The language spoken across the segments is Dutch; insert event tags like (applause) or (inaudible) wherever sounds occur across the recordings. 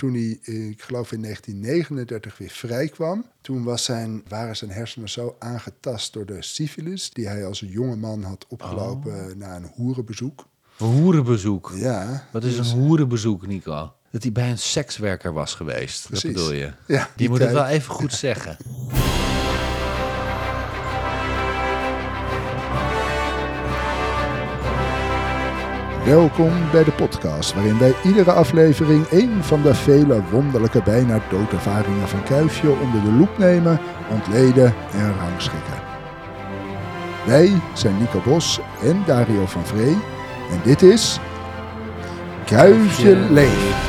Toen hij, eh, ik geloof in 1939, weer vrijkwam, toen was zijn, waren zijn hersenen zo aangetast door de syfilis, die hij als een jonge man had opgelopen Oh. eh, na een hoerenbezoek. Hoerenbezoek. Ja, Wat is een hoerenbezoek, Nico? Dat hij bij een sekswerker was geweest. Precies. Dat bedoel je. Ja, je die moet het tijd. wel even goed (laughs) zeggen. Welkom bij de podcast, waarin wij iedere aflevering een van de vele wonderlijke bijna doodervaringen van Kuifje onder de loep nemen, ontleden en rangschikken. Wij zijn Nico Bos en Dario van Vree en dit is Kuifje Leeft.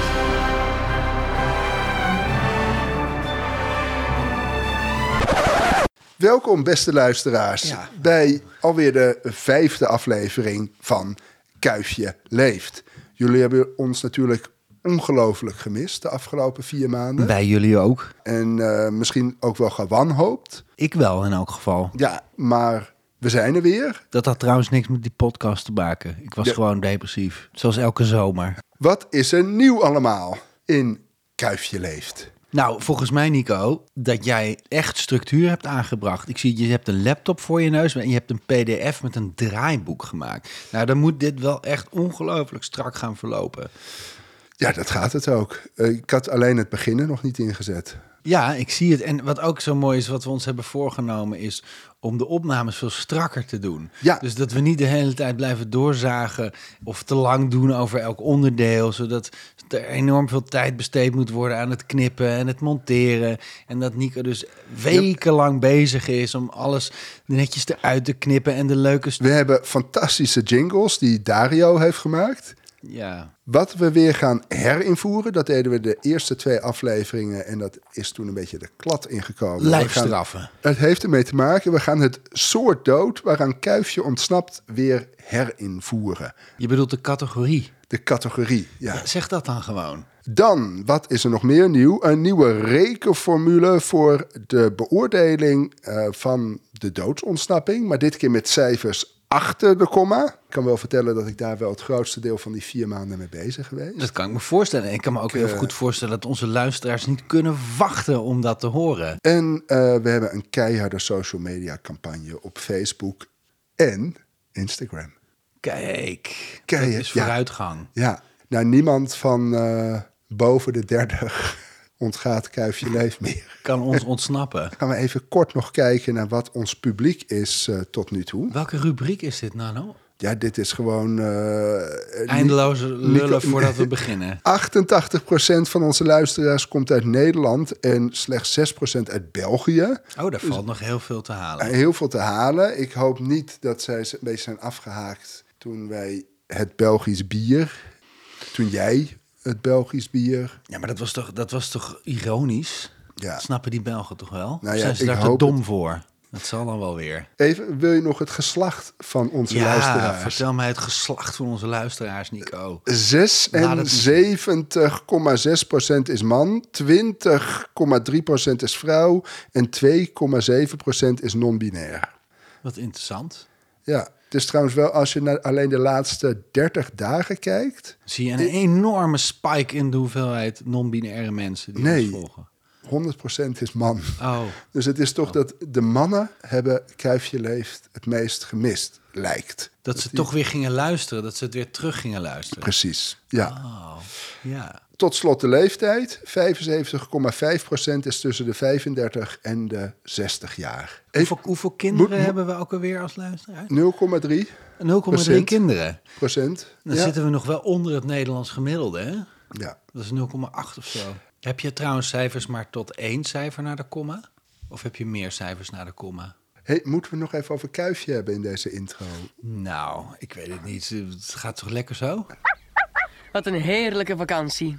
Welkom beste luisteraars bij alweer de vijfde aflevering van Kuifje Leeft. Jullie hebben ons natuurlijk ongelooflijk gemist de afgelopen vier maanden. bij jullie ook. En eh, misschien ook wel gewanhoopt. Ik wel in elk geval. Ja, maar we zijn er weer. Dat had trouwens niks met die podcast te maken. Ik was Ja. gewoon depressief. Zoals elke zomer. Wat is er nieuw allemaal in Kuifje Leeft? Nou, volgens mij, Nico, dat jij echt structuur hebt aangebracht. Ik zie, je hebt een laptop voor je neus en je hebt een PDF met een draaiboek gemaakt. Nou, dan moet dit wel echt ongelooflijk strak gaan verlopen. Ja, dat gaat het ook. Eh, ik had alleen het beginnen nog niet ingezet. Ja, ik zie het. En wat ook zo mooi is, wat we ons hebben voorgenomen, is om de opnames veel strakker te doen. Ja. Dus dat we niet de hele tijd blijven doorzagen of te lang doen over elk onderdeel, zodat er enorm veel tijd besteed moet worden aan het knippen en het monteren. En dat Nico dus wekenlang bezig is om alles netjes eruit te knippen en de leuke... st- We hebben fantastische jingles die Dario heeft gemaakt. Ja, Wat we weer gaan herinvoeren, dat deden we de eerste twee afleveringen en dat is toen een beetje de klad ingekomen. We gaan- lijfstraffen. Het heeft ermee te maken, we gaan het soort dood waaraan Kuifje ontsnapt weer herinvoeren. Je bedoelt de categorie. De categorie, ja. Zeg dat dan gewoon. Dan, wat is er nog meer nieuw? Een nieuwe rekenformule voor de beoordeling eh, van de doodsontsnapping. Maar dit keer met cijfers achter de komma. Ik kan wel vertellen dat ik daar wel het grootste deel van die vier maanden mee bezig geweest. Dat kan ik me voorstellen. En ik kan me ook heel eh, goed voorstellen dat onze luisteraars niet kunnen wachten om dat te horen. En eh, we hebben een keiharde social media campagne op Facebook en Instagram. Kijk, Kijk, dat is ja. vooruitgang. Ja, nou niemand van eh, boven de 30 (laughs) ontgaat Kuifje Leef meer. Kan ons ontsnappen. Gaan we even kort nog kijken naar wat ons publiek is eh, tot nu toe. Welke rubriek is dit nou nou? Ja, dit is gewoon... eh, Eindeloze Nico- lullen voordat (laughs) we beginnen. 88% van onze luisteraars komt uit Nederland en slechts 6% uit België. Oh, daar valt nog heel veel te halen. Eh, heel veel te halen. Ik hoop niet dat zij een beetje zijn afgehaakt toen wij het Belgisch bier, toen jij het Belgisch bier. Ja, maar dat was toch, dat was toch ironisch? Ja. Dat snappen die Belgen toch wel? Nou ja, Of zijn ze ik daar te hoop dom voor? Dat zal dan wel weer. Even, wil je nog het geslacht van onze Ja, luisteraars? vertel mij het geslacht van onze luisteraars, Nico. 76,6% is man, 20,3% is vrouw en 2,7% is non-binair. Wat interessant. Ja, het is trouwens wel als je naar alleen de laatste 30 dagen kijkt, Zie je een enorme spike in de hoeveelheid non-binaire mensen die Nee. ons volgen? 100% is man. Oh, Dus het is toch dat de mannen hebben Kuifje Leeft het meest gemist, lijkt. dat ze toch weer gingen luisteren, dat ze het weer terug gingen luisteren. Precies, ja. Oh, ja. Tot slot de leeftijd. 75,5% is tussen de 35 en de 60 jaar. Hoeveel, hoeveel kinderen moet- moet- hebben we ook alweer als luisteraar? 0,3 0,3 Procent. kinderen. procent. Dan ja. zitten we nog wel onder het Nederlands gemiddelde, hè? ja. Dat is 0,8 of zo. Heb je trouwens cijfers maar tot één cijfer naar de komma? Of heb je meer cijfers naar de komma? Hey, moeten we nog even over Kuifje hebben in deze intro? Nou, ik weet het niet. Het gaat toch lekker zo? Wat een heerlijke vakantie.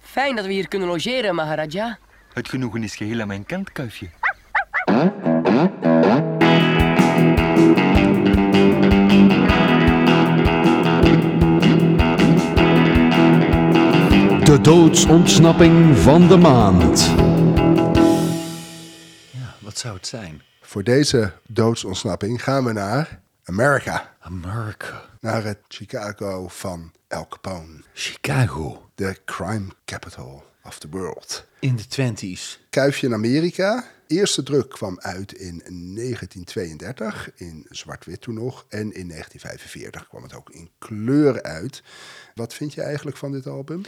Fijn dat we hier kunnen logeren, Maharaja. Het genoegen is geheel aan mijn kant, kuifje. De doodsontsnapping van de maand. Wat zou het zijn? Voor deze doodsontsnapping gaan we naar Amerika. Amerika. Naar het Chicago van Al Capone. Chicago. De crime capital of the World. In de twenties. Kuifje in Amerika. Eerste druk kwam uit in 1932, in zwart-wit toen nog. En in 1945 kwam het ook in kleur uit. Wat vind je eigenlijk van dit album?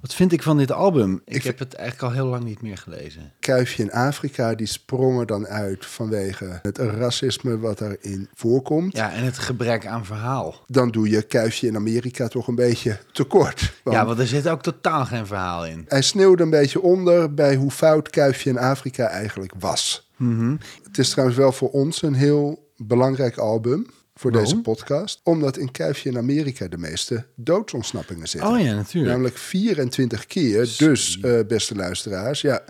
Wat vind ik van dit album? Ik, Ik heb het eigenlijk al heel lang niet meer gelezen. Kuifje in Afrika, die sprongen dan uit vanwege het racisme wat daarin voorkomt. Ja, en het gebrek aan verhaal. Dan doe je Kuifje in Amerika toch een beetje tekort. Want Ja, want er zit ook totaal geen verhaal in. Hij sneeuwde een beetje onder bij hoe fout Kuifje in Afrika eigenlijk was. Mhm. Het is trouwens wel voor ons een heel belangrijk album voor deze podcast. Omdat in Kuifje in Amerika de meeste doodsontsnappingen zitten. Oh ja, natuurlijk. Namelijk 24 keer. Dus, eh, beste luisteraars, ja.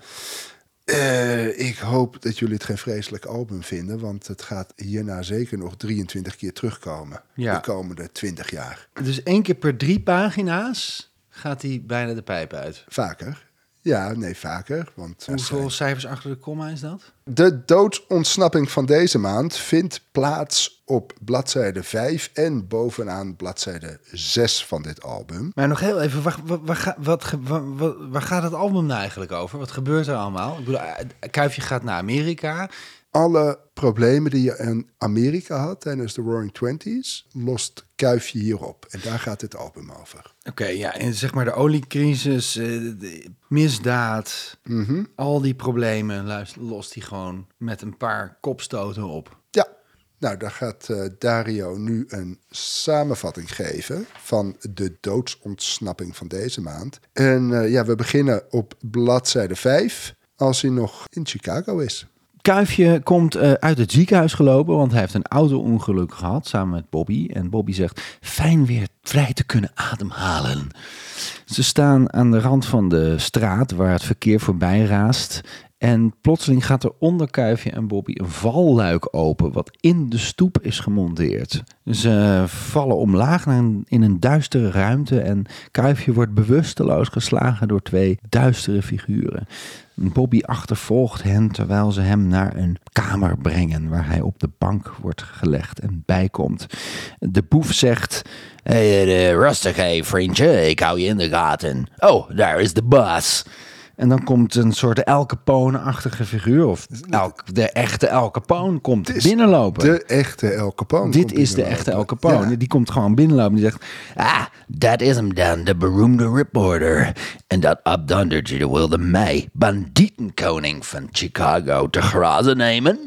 eh, ik hoop dat jullie het geen vreselijk album vinden. Want het gaat hierna zeker nog 23 keer terugkomen. Ja. De komende 20 jaar. Dus één keer per drie pagina's gaat hij bijna de pijp uit. Vaker. Ja, nee, vaker. Want er zijn- Hoeveel cijfers achter de komma is dat? De doodsontsnapping van deze maand vindt plaats op bladzijde 5 en bovenaan bladzijde 6 van dit album. Maar nog heel even, waar, waar, waar, ga- wat, ge- waar, waar- waar gaat het album nou eigenlijk over? Wat gebeurt er allemaal? Ik bedoel, eh, Kuifje gaat naar Amerika. Alle problemen die je in Amerika had tijdens de Roaring Twenties, lost Kuifje hierop. En daar gaat dit album over. Oké, ja, en zeg maar de oliecrisis, eh, de- de misdaad, al die problemen luist- lost hij gewoon met een paar kopstoten op. Ja, nou daar gaat eh, Dario nu een samenvatting geven van de doodsontsnapping van deze maand. En eh, ja, we beginnen op bladzijde 5 als hij nog in Chicago is. Kuifje komt eh, uit het ziekenhuis gelopen, want hij heeft een auto-ongeluk gehad samen met Bobby. En Bobby zegt, fijn weer vrij te kunnen ademhalen. Ze staan aan de rand van de straat waar het verkeer voorbij raast. En plotseling gaat er onder Kuifje en Bobby een valluik open, wat in de stoep is gemonteerd. Ze vallen omlaag naar een- in een duistere ruimte en Kuifje wordt bewusteloos geslagen door twee duistere figuren. Bobby achtervolgt hen terwijl ze hem naar een kamer brengen waar hij op de bank wordt gelegd en bijkomt. De boef zegt: hey, eh, Rustig, hé vriendje, ik hou je in de gaten. Oh, daar is de baas. En dan komt een soort El Capone-achtige figuur, of El- de echte El Capone komt is binnenlopen. De echte El Capone. Dit komt is de binnenlopen. echte El Capone. Ja. Die komt gewoon binnenlopen. Die zegt: Ah, dat is hem dan, de beroemde reporter. En dat abdondertje wilde mij, bandietenkoning van Chicago, te grazen nemen.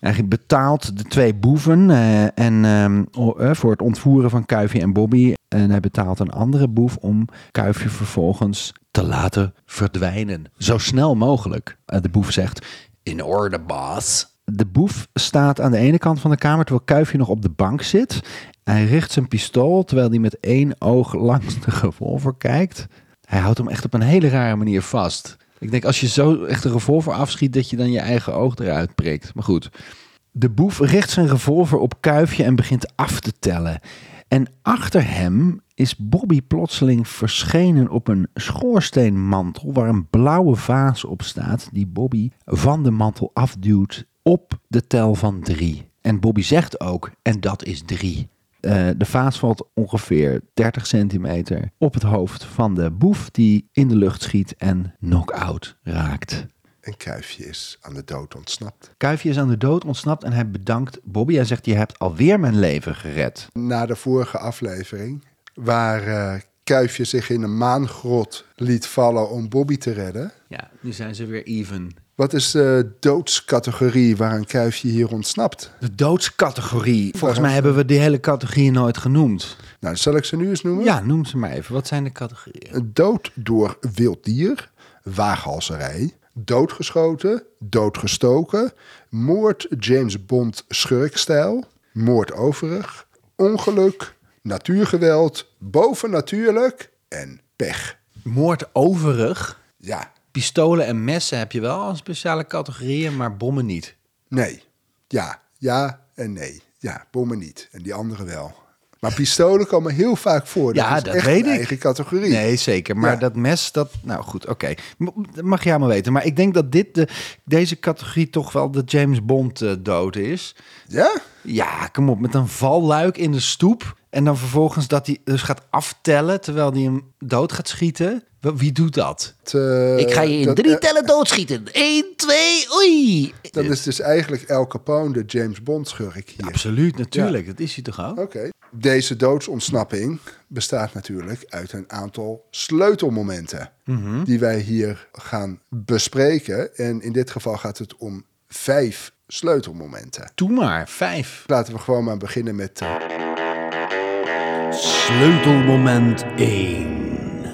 Hij betaalt de twee boeven eh, en, ehm, o- eh, voor het ontvoeren van Kuifje en Bobby. En hij betaalt een andere boef om Kuifje vervolgens te laten verdwijnen. Zo snel mogelijk. Eh, de boef zegt, in orde baas. De boef staat aan de ene kant van de kamer terwijl Kuifje nog op de bank zit. Hij richt zijn pistool terwijl hij met één oog langs de revolver kijkt. Hij houdt hem echt op een hele rare manier vast. Ik denk als je zo echt een revolver afschiet dat je dan je eigen oog eruit prikt. Maar goed. De boef richt zijn revolver op Kuifje en begint af te tellen. En achter hem is Bobby plotseling verschenen op een schoorsteenmantel waar een blauwe vaas op staat die Bobby van de mantel afduwt op de tel van drie. En Bobby zegt ook, en dat is drie. Eh, de vaas valt ongeveer 30 centimeter op het hoofd van de boef die in de lucht schiet en knock-out raakt. Een kuifje is aan de dood ontsnapt. Kuifje is aan de dood ontsnapt en hij bedankt Bobby. Hij zegt, je hebt alweer mijn leven gered. Na de vorige aflevering, waar eh, Kuifje zich in een maangrot liet vallen om Bobby te redden. Ja, nu zijn ze weer even. Wat is de doodscategorie waar een kuifje hier ontsnapt? De doodscategorie. Volgens mij hebben we die hele categorie nooit genoemd. Nou, zal ik ze nu eens noemen? Ja, noem ze maar even. Wat zijn de categorieën? Dood door wild dier, waaghalserij, doodgeschoten, doodgestoken, moord James Bond schurkstijl, moord overig, ongeluk, natuurgeweld, bovennatuurlijk en pech. Moord overig. Ja, Pistolen en messen heb je wel als speciale categorieën, maar bommen niet. nee, ja, ja en nee. Ja, bommen niet en die andere wel. Maar pistolen komen heel vaak voor. Ja, is dat echt weet een ik. eigen categorie. Nee, zeker. Maar Ja. dat mes, dat... Nou goed, oké. M- Dat mag jij maar weten. Maar ik denk dat dit de, deze categorie toch wel de James Bond eh, dood is. Ja? Ja, kom op, met een valluik in de stoep. En dan vervolgens dat hij dus gaat aftellen terwijl hij hem dood gaat schieten. Wel, Wie doet dat? Het, eh, Ik ga je in dat- drie eh, tellen doodschieten. Eén, twee, oei. Dat is dus eigenlijk El Capone, de James Bond schurk hier. Absoluut, natuurlijk. Dat is hij toch ook? Oké. Deze doodsontsnapping bestaat natuurlijk uit een aantal sleutelmomenten. Mhm. Die wij hier gaan bespreken. En in dit geval gaat het om vijf sleutelmomenten. Doe maar, vijf. Laten we gewoon maar beginnen met. eh, Sleutelmoment 1.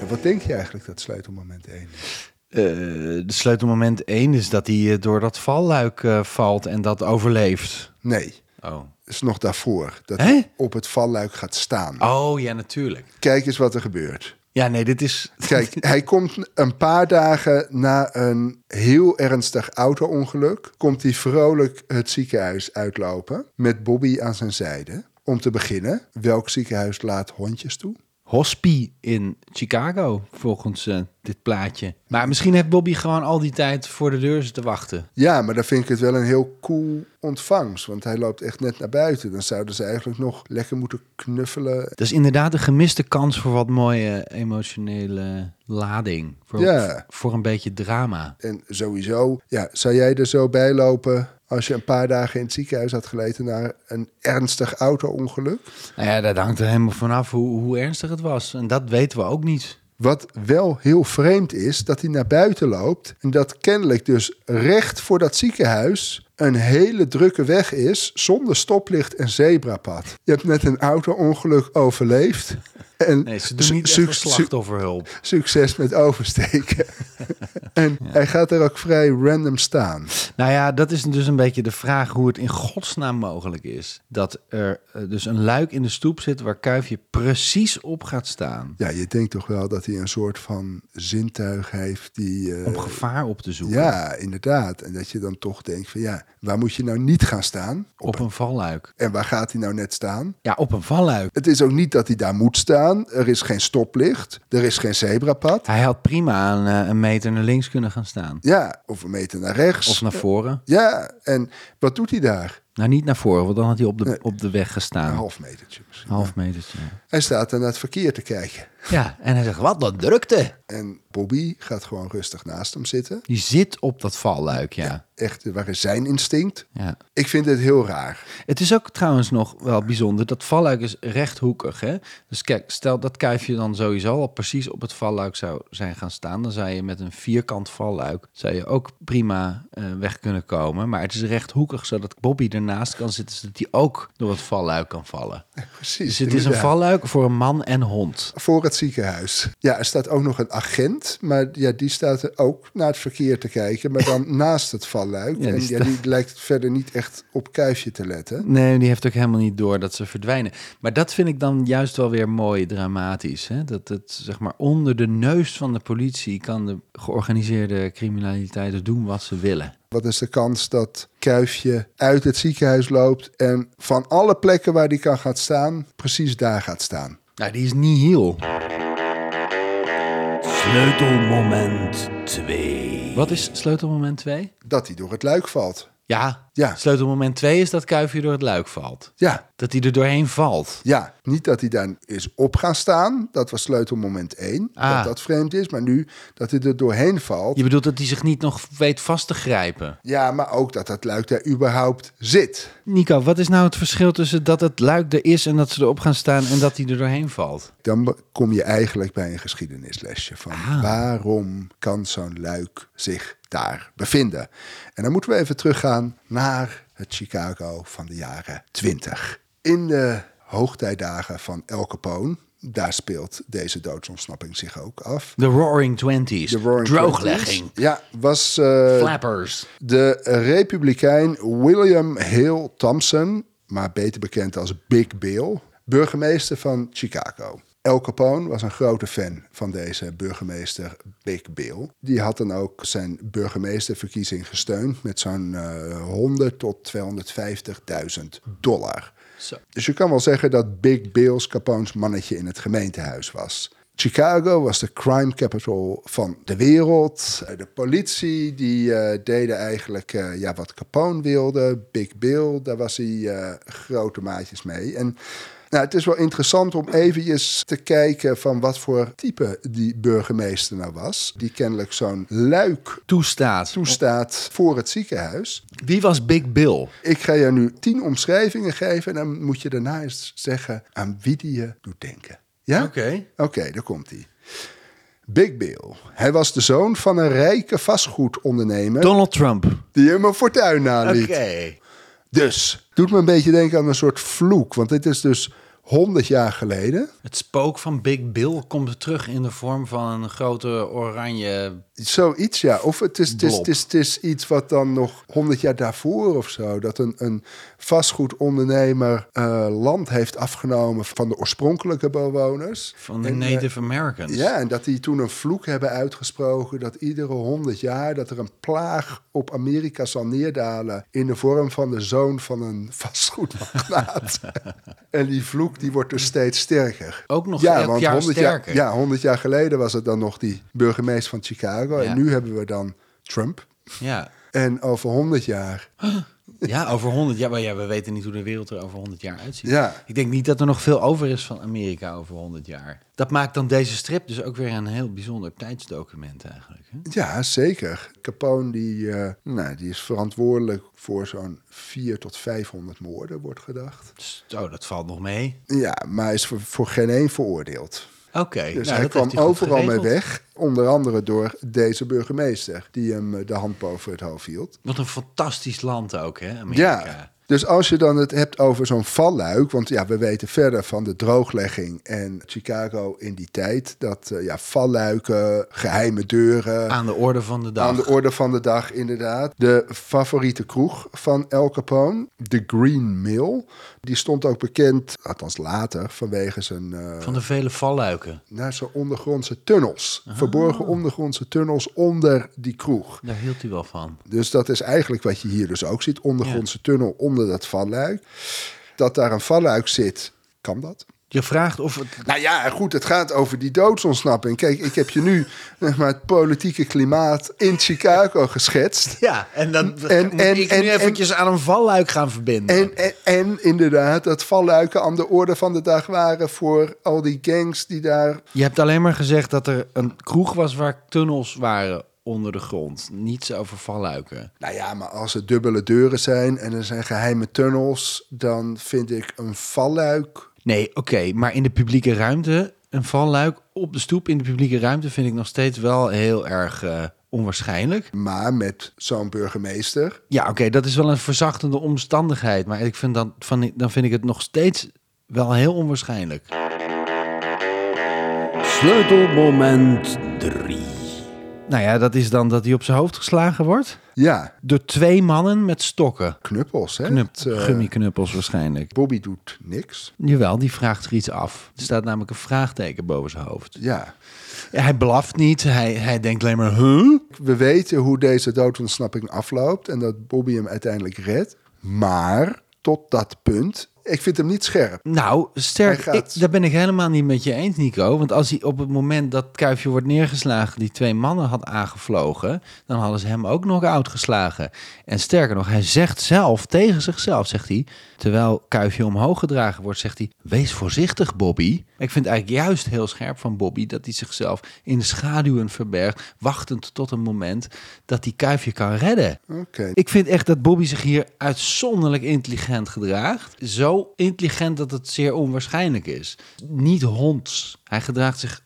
wat denk je eigenlijk dat sleutelmoment 1 is? Eh, de sleutelmoment 1 is dat hij eh, door dat valluik eh, valt en dat overleeft. Nee, Oh. is nog daarvoor. Dat Hè? hij op het valluik gaat staan. Oh ja, natuurlijk. Kijk eens wat er gebeurt. Ja, nee, dit is. Kijk, hij komt een paar dagen na een heel ernstig auto-ongeluk... komt hij vrolijk het ziekenhuis uitlopen met Bobby aan zijn zijde. Om te beginnen, welk ziekenhuis laat hondjes toe? Hospie in Chicago, volgens eh, dit plaatje. Maar misschien heeft Bobby gewoon al die tijd voor de deur te wachten. Ja, maar dan vind ik het wel een heel cool ontvangst. Want hij loopt echt net naar buiten. Dan zouden ze eigenlijk nog lekker moeten knuffelen. Dat is inderdaad een gemiste kans voor wat mooie emotionele lading. Voor, Ja. voor een beetje drama. En sowieso, ja, zou jij er zo bij lopen... als je een paar dagen in het ziekenhuis had geleten... na een ernstig auto-ongeluk? Nou ja, dat hangt er helemaal vanaf hoe, hoe ernstig het was. En dat weten we ook niet. Wat wel heel vreemd is, dat hij naar buiten loopt. En dat kennelijk dus recht voor dat ziekenhuis een hele drukke weg is zonder stoplicht en zebrapad. Je hebt net een auto-ongeluk overleefd. En Nee, ze su- doen niet suc- echt su- voor slachtofferhulp. succes met (laughs) oversteken. en hij gaat er ook vrij random staan. Nou ja, dat is dus een beetje de vraag hoe het in godsnaam mogelijk is. Dat er eh, dus een luik in de stoep zit waar Kuifje precies op gaat staan. Ja, je denkt toch wel dat hij een soort van zintuig heeft die... eh, Om gevaar op te zoeken. ja, inderdaad. En dat je dan toch denkt van ja, waar moet je nou niet gaan staan? Op een valluik. En waar gaat hij nou net staan? Ja, op een valluik. Het is ook niet dat hij daar moet staan. Er is geen stoplicht. Er is geen zebrapad. Hij had prima aan eh, een meter naar links kunnen gaan staan. Ja, of een meter naar rechts. Of naar voren. Ja, en wat doet hij daar? Nou, niet naar voren, want dan had hij op de, Nee. op de weg Een gestaan. half metertje misschien. Half metertje. Hij staat dan naar het verkeer te kijken. Ja, en hij zegt, wat een drukte. En Bobby gaat gewoon rustig naast hem zitten. Die zit op dat valluik, ja. Echt, waar is zijn instinct? ja. Ik vind dit heel raar. Het is ook trouwens nog wel bijzonder. Dat valluik is rechthoekig. Hè? Dus kijk, stel dat kuifje dan sowieso al precies op het valluik zou zijn gaan staan. Dan zou je met een vierkant valluik zou je ook prima eh, weg kunnen komen. Maar het is rechthoekig, zodat Bobby ernaast kan zitten. Zodat hij ook door het valluik kan vallen. Precies. Dus het is een inderdaad. valluik voor een man en hond. Voor het ziekenhuis. Ja, er staat ook nog een agent. Maar ja, die staat er ook naar het verkeer te kijken. Maar (laughs) dan naast het valluik. Ja, die en ja, staat- die lijkt verder niet echt op kuifje te letten. Nee, die heeft ook helemaal niet door dat ze verdwijnen. Maar dat vind ik dan juist wel weer mooi dramatisch. Hè? Dat het zeg maar onder de neus van de politie kan de georganiseerde criminaliteit dus doen wat ze willen. Wat is de kans dat Kuifje uit het ziekenhuis loopt en van alle plekken waar die kan gaan staan, precies daar gaat staan? Nou, die is niet heel. Sleutelmoment 2. Wat is sleutelmoment 2? Dat hij door het luik valt. Ja. Ja. Sleutelmoment 2 is dat kuifje door het luik valt. Ja, Dat hij er doorheen valt. ja. Niet dat hij daar is op gaan staan. Dat was sleutelmoment 1. Ah. Dat dat vreemd is. Maar nu dat hij er doorheen valt. Je bedoelt dat hij zich niet nog weet vast te grijpen. Ja, maar ook dat dat luik daar überhaupt zit. Nico, wat is nou het verschil tussen dat het luik er is en dat ze erop gaan staan en dat hij er doorheen valt? Dan be- kom je eigenlijk bij een geschiedenislesje van waarom kan zo'n luik zich daar bevinden? En dan moeten we even teruggaan naar het Chicago van de jaren 20. In de hoogtijdagen van El Capone, daar speelt deze doodsontsnapping zich ook af. De Roaring Twenties. De Roaring Drooglegging. 20s. Ja, was eh, Flappers. de republikein William Hill Thompson, maar beter bekend als Big Bill, burgemeester van Chicago. El Capone was een grote fan van deze burgemeester Big Bill. Die had dan ook zijn burgemeesterverkiezing gesteund met zo'n eh 100 tot 250.000 dollar. Dus je kan wel zeggen dat Big Bill's Capone's mannetje in het gemeentehuis was. Chicago was de crime capital van de wereld. Eh, De politie die eh, deden eigenlijk eh, ja, wat Capone wilde. Big Bill, daar was hij eh, grote maatjes mee. En Nou, het is wel interessant om eventjes te kijken van wat voor type die burgemeester nou was. Die kennelijk zo'n luik Toestaat. toestaat voor het ziekenhuis. Wie was Big Bill? Ik ga je nu tien omschrijvingen geven en dan moet je daarna eens zeggen aan wie die je doet denken. Ja? Oké. Oké, daar komt hij. Big Bill. Hij was de zoon van een rijke vastgoedondernemer Donald Trump. Oké. die hem een fortuin naliet. Dus, doet me een beetje denken aan een soort vloek, want dit is dus 100 jaar geleden. Het spook van Big Bill komt terug in de vorm van een grote oranje... Zoiets, ja. Of het is, het, is, Blob. het, is, het is iets wat dan nog 100 jaar daarvoor of zo. Dat een, een vastgoedondernemer eh, land heeft afgenomen van de oorspronkelijke bewoners. van de En, eh, Native Americans. Ja, en dat die toen een vloek hebben uitgesproken dat iedere honderd jaar dat er een plaag op Amerika zal neerdalen in de vorm van de zoon van een (laughs) (laughs) vastgoedmagnaat. en die vloek die wordt dus steeds sterker. Ook nog elk jaar 100 sterker. ja, 100 jaar geleden was het dan nog die burgemeester van Chicago Ja. en nu hebben we dan Trump. Ja. En over 100 jaar, Ja, over 100 jaar. Maar ja, we weten niet hoe de wereld er over 100 jaar uitziet. Ja. Ik denk niet dat er nog veel over is van Amerika over 100 jaar. Dat maakt dan deze strip dus ook weer een heel bijzonder tijdsdocument eigenlijk. Hè? ja zeker. Capone die, eh, nou, die is verantwoordelijk voor zo'n 400 tot 500 moorden, wordt gedacht. Zo, Dus, oh, dat valt nog mee. Ja, maar hij is voor, voor geen één veroordeeld. Oké. Dus nou, hij dat kwam heeft goed overal mee geregeld. weg. Onder andere door deze burgemeester, die hem eh, de hand boven het hoofd hield. Wat een fantastisch land ook, hè, Amerika. Ja. Dus als je dan het hebt over zo'n valluik, want ja, we weten verder van de drooglegging en Chicago in die tijd, dat eh, ja, valluiken, geheime deuren, Aan de orde van de dag. aan de orde van de dag, inderdaad. De favoriete kroeg van El Capone, de Green Mill. Die stond ook bekend, althans later, vanwege zijn... eh, Van de vele valluiken. naar zijn ondergrondse tunnels. Verborgen ondergrondse tunnels onder die kroeg. Daar hield hij wel van. Dus dat is eigenlijk wat je hier dus ook ziet. Ondergrondse tunnel onder dat valluik. Dat daar een valluik zit, kan dat? Je vraagt of het... Nou ja, goed, het gaat over die doodsontsnapping. Kijk, ik heb je nu (laughs) zeg maar, het politieke klimaat in Chicago geschetst. Ja, en dan En- moet en- ik en- nu en- eventjes aan een valluik gaan verbinden. En, en, en inderdaad, dat valluiken aan de orde van de dag waren voor al die gangs die daar Je hebt alleen maar gezegd dat er een kroeg was waar tunnels waren onder de grond. Niets over valluiken. Nou ja, maar als er dubbele deuren zijn en er zijn geheime tunnels, dan vind ik een valluik. Nee, oké, maar in de publieke ruimte, een valluik op de stoep in de publieke ruimte vind ik nog steeds wel heel erg eh, onwaarschijnlijk. Maar met zo'n burgemeester. Ja, oké, dat is wel een verzachtende omstandigheid, maar ik vind dan, van, dan vind ik het nog steeds wel heel onwaarschijnlijk. Sleutelmoment 3. Nou ja, dat is dan dat hij op zijn hoofd geslagen wordt Ja, door twee mannen met stokken. knuppels, hè? Knup, Het, eh, gummiknuppels waarschijnlijk. Bobby doet niks. Jawel, die vraagt zich iets af. Er staat namelijk een vraagteken boven zijn hoofd. Ja. Ja, Hij blaft niet, hij, hij denkt alleen maar, huh? We weten hoe deze doodontsnapping afloopt en dat Bobby hem uiteindelijk redt. Maar tot dat punt, ik vind hem niet scherp. Nou, sterk, Hij gaat- ik- daar ben ik helemaal niet met je eens, Nico. Want als hij op het moment dat Kuifje wordt neergeslagen... die twee mannen had aangevlogen... dan hadden ze hem ook knock-out geslagen. En sterker nog, hij zegt zelf, tegen zichzelf zegt hij... terwijl Kuifje omhoog gedragen wordt, zegt hij... wees voorzichtig, Bobby. Ik vind het eigenlijk juist heel scherp van Bobby... dat hij zichzelf in de schaduwen verbergt... wachtend tot een moment dat hij Kuifje kan redden. Oké. Ik vind echt dat Bobby zich hier uitzonderlijk intelligent gedraagt. Zo intelligent dat het zeer onwaarschijnlijk is. Niet honds. Hij gedraagt zich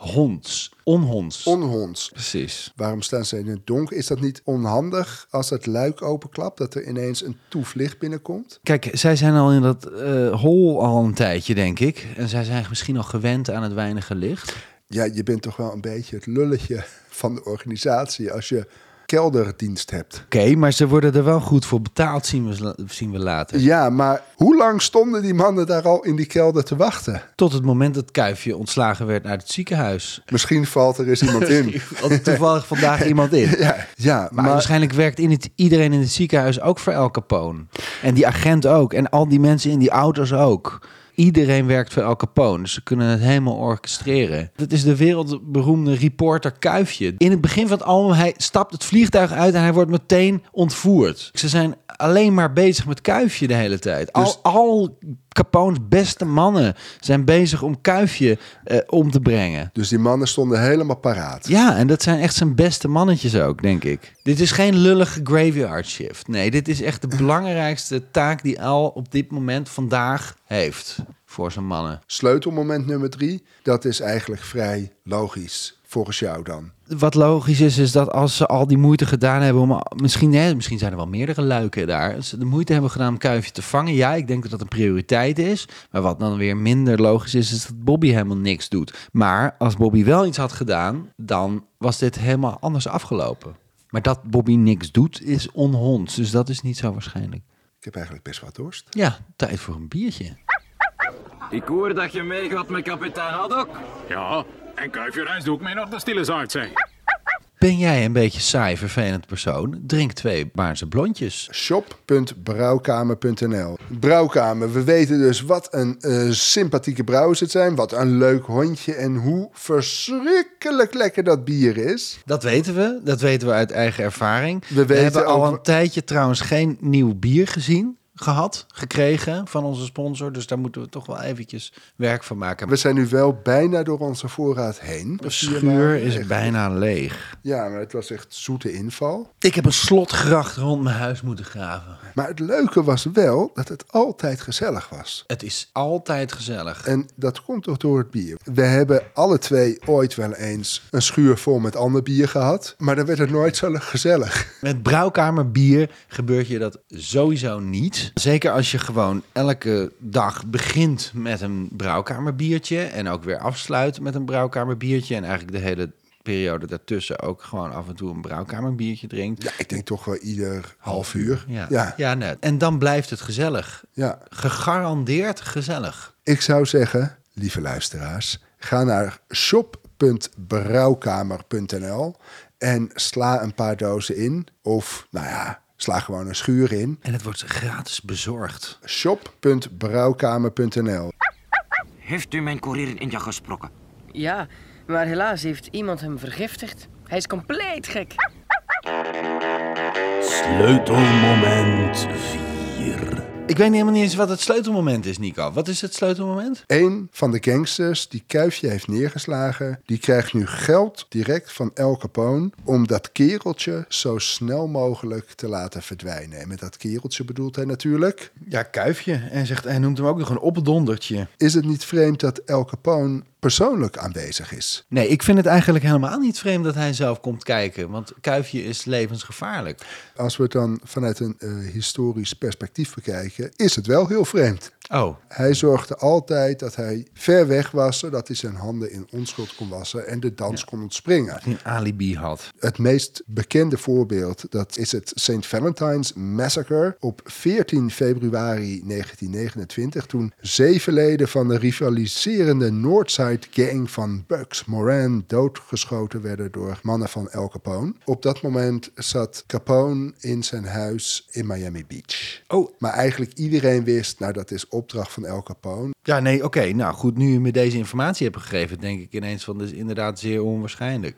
a-honds. Onhonds. Onhonds. Precies. Waarom staan ze in het donker? Is dat niet onhandig als het luik openklapt, dat er ineens een toef licht binnenkomt? Kijk, zij zijn al in dat eh, hol al een tijdje, denk ik. En zij zijn misschien al gewend aan het weinige licht. Ja, je bent toch wel een beetje het lulletje van de organisatie als je kelderdienst hebt. Oké, maar ze worden er wel goed voor betaald, zien we, la- zien we later. Ja, maar hoe lang stonden die mannen daar al in die kelder te wachten? Tot het moment dat Kuifje ontslagen werd uit het ziekenhuis. Misschien valt er (laughs) eens iemand in. Want toevallig (laughs) vandaag iemand in. Ja, ja Maar, maar, waarschijnlijk werkt in het, iedereen in het ziekenhuis ook voor El Capone. En die agent ook. En al die mensen in die auto's ook. Iedereen werkt voor El Capone. Dus ze kunnen het helemaal orchestreren. Dat is de wereldberoemde reporter Kuifje. In het begin van het album, hij stapt het vliegtuig uit en hij wordt meteen ontvoerd. Ze zijn alleen maar bezig met Kuifje de hele tijd. Al, al Capone's beste mannen zijn bezig om Kuifje eh, om te brengen. Dus die mannen stonden helemaal paraat. Ja, en dat zijn echt zijn beste mannetjes ook, denk ik. Dit is geen lullige graveyard shift. Nee, dit is (laughs) echt de belangrijkste taak die Al op dit moment vandaag heeft voor zijn mannen. Sleutelmoment nummer drie, dat is eigenlijk vrij logisch, volgens jou dan. Wat logisch is, is dat als ze al die moeite gedaan hebben om... Misschien, hè, misschien zijn er wel meerdere luiken daar. Als ze de moeite hebben gedaan om Kuifje te vangen. Ja, ik denk dat dat een prioriteit is. Maar wat dan weer minder logisch is, is dat Bobby helemaal niks doet. Maar als Bobby wel iets had gedaan, dan was dit helemaal anders afgelopen. Maar dat Bobby niks doet, is onhonds. Dus dat is niet zo waarschijnlijk. Ik heb eigenlijk best wat dorst. Ja, tijd voor een biertje. Ik hoor dat je meegaat met kapitein Haddock. Ja, en Kuifje reist ook mee naar de stille Zuidzee. Ben jij een beetje saai, vervelend persoon? Drink twee Baarse blondjes. shop.brouwkamer.nl. Brouwkamer, we weten dus wat een eh, sympathieke brouwers het zijn, wat een leuk hondje en hoe verschrikkelijk lekker dat bier is. Dat weten we. Dat weten we uit eigen ervaring. We, weten hebben al ook- een tijdje trouwens geen nieuw bier gezien, gehad, gekregen van onze sponsor. Dus daar moeten we toch wel eventjes werk van maken. We zijn nu wel bijna door onze voorraad heen. de schuur is bijna leeg. Ja, maar het was echt zoete inval. Ik heb een slotgracht rond mijn huis moeten graven. Maar het leuke was wel dat het altijd gezellig was. Het is altijd gezellig. En dat komt toch door het bier. We hebben alle twee ooit wel eens een schuur vol met ander bier gehad. Maar dan werd het nooit zo gezellig. Met brouwkamerbier gebeurt je dat sowieso niet. Zeker als je gewoon elke dag begint met een brouwkamerbiertje en ook weer afsluit met een brouwkamerbiertje en eigenlijk de hele periode daartussen ook gewoon af en toe een brouwkamerbiertje drinkt. Ja, ik denk toch wel ieder half uur. Ja, ja. ja. net. En dan blijft het gezellig. ja. Gegarandeerd gezellig. Ik zou zeggen, lieve luisteraars, ga naar shop.brouwkamer.nl en sla een paar dozen in. Of, nou ja, sla gewoon een schuur in. En het wordt gratis bezorgd. Shop.brouwkamer.nl Heeft u mijn koerier in India gesproken? Ja, maar helaas heeft iemand hem vergiftigd. Hij is compleet gek. Sleutelmoment 4. Ik weet helemaal niet eens wat het sleutelmoment is, Nico. Wat is het sleutelmoment? Een van de gangsters die Kuifje heeft neergeslagen, die krijgt nu geld direct van El Capone om dat kereltje zo snel mogelijk te laten verdwijnen. En met dat kereltje bedoelt hij natuurlijk. Ja, kuifje. En zegt, hij noemt hem ook nog een opdondertje. Is het niet vreemd dat El Capone persoonlijk aanwezig is? Nee, ik vind het eigenlijk helemaal niet vreemd dat hij zelf komt kijken. Want kuifje is levensgevaarlijk. Als we het dan vanuit een eh, historisch perspectief bekijken, is het wel heel vreemd. Oh, Hij zorgde altijd dat hij ver weg was, zodat hij zijn handen in onschuld kon wassen en de dans kon ontspringen. een alibi had. Het meest bekende voorbeeld dat is het St. Valentine's Massacre op 14 februari 1929, toen zeven leden van de rivaliserende Northside Gang van Bucks Moran doodgeschoten werden door mannen van El Capone. Op dat moment zat Capone in zijn huis in Miami Beach. Oh. Maar eigenlijk iedereen wist, nou dat is opdracht van El Capone. Ja, nee, oké. Nou goed, nu je me deze informatie hebt gegeven, denk ik ineens van, dat is inderdaad zeer onwaarschijnlijk.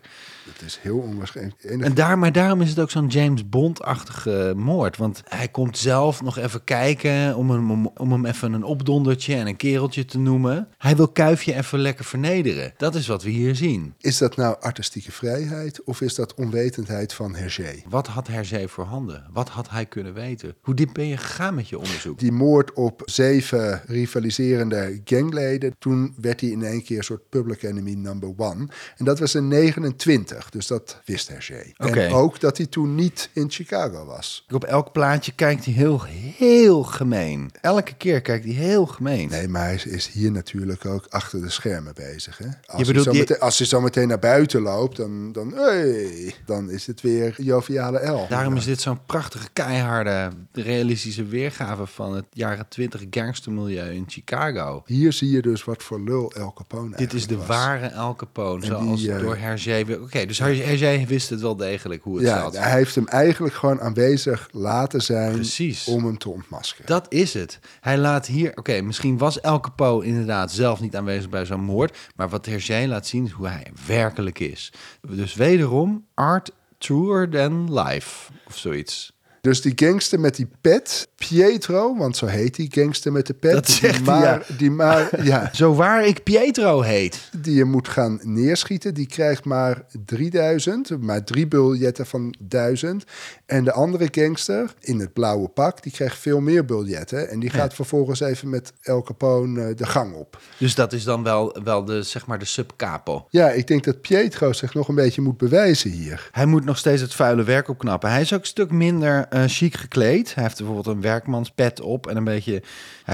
Dat is heel onwaarschijnlijk. Enig- En daar, maar daarom is het ook zo'n James Bond-achtige moord. Want hij komt zelf nog even kijken om hem, om, om hem even een opdondertje en een kereltje te noemen. Hij wil Kuifje even lekker vernederen. Dat is wat we hier zien. Is dat nou artistieke vrijheid of is dat onwetendheid van Hergé? Wat had Herzee voor handen? Wat had hij kunnen weten? Hoe diep ben je gegaan met je onderzoek? Die moord op zeven rivaliserende gangleden, toen werd hij in één keer een soort public enemy number one. En dat was in 29, dus dat wist Hergé. Oké. En ook dat hij toen niet in Chicago was. Op elk plaatje kijkt hij heel, heel gemeen. Elke keer kijkt hij heel gemeen. Nee, maar hij is hier natuurlijk ook achter de schermen bezig. Hè? Als, bedoelt hij zo die- meteen, als hij zo meteen naar buiten loopt, dan, dan, hey, dan is het weer joviale L. Daarom is dit zo'n prachtige, keiharde, realistische weergave van het jaren 20 gangstermilieu in Chicago. Hier zie je dus wat voor lul El Capone Dit is de eigenlijk was. ware El Capone, En die, zoals eh, door Hergé... weer- Oké, dus Her- Hergé wist het wel degelijk hoe het Ja, zat. hij heeft hem eigenlijk gewoon aanwezig laten zijn Precies. om hem te ontmaskeren. Dat is het. Hij laat hier... Oké, misschien was El Capone inderdaad zelf niet aanwezig bij zo'n moord... maar wat Hergé laat zien is hoe hij werkelijk is. Dus wederom, art truer than life of zoiets. Dus die gangster met die pet, Pietro, want zo heet die gangster met de pet. Dat zegt die hij, maar, die (laughs) maar, ja, Zo waar ik Pietro heet. die je moet gaan neerschieten, die krijgt maar 3000, maar drie biljetten van 1000. En de andere gangster in het blauwe pak, die krijgt veel meer biljetten. En die gaat vervolgens even met El Capone eh, de gang op. Dus dat is dan wel, wel de, zeg maar de subcapo. Ja, ik denk dat Pietro zich nog een beetje moet bewijzen hier. Hij moet nog steeds het vuile werk opknappen. Hij is ook een stuk minder eh chic gekleed. Hij heeft bijvoorbeeld een werkmanspet op en een beetje... Hij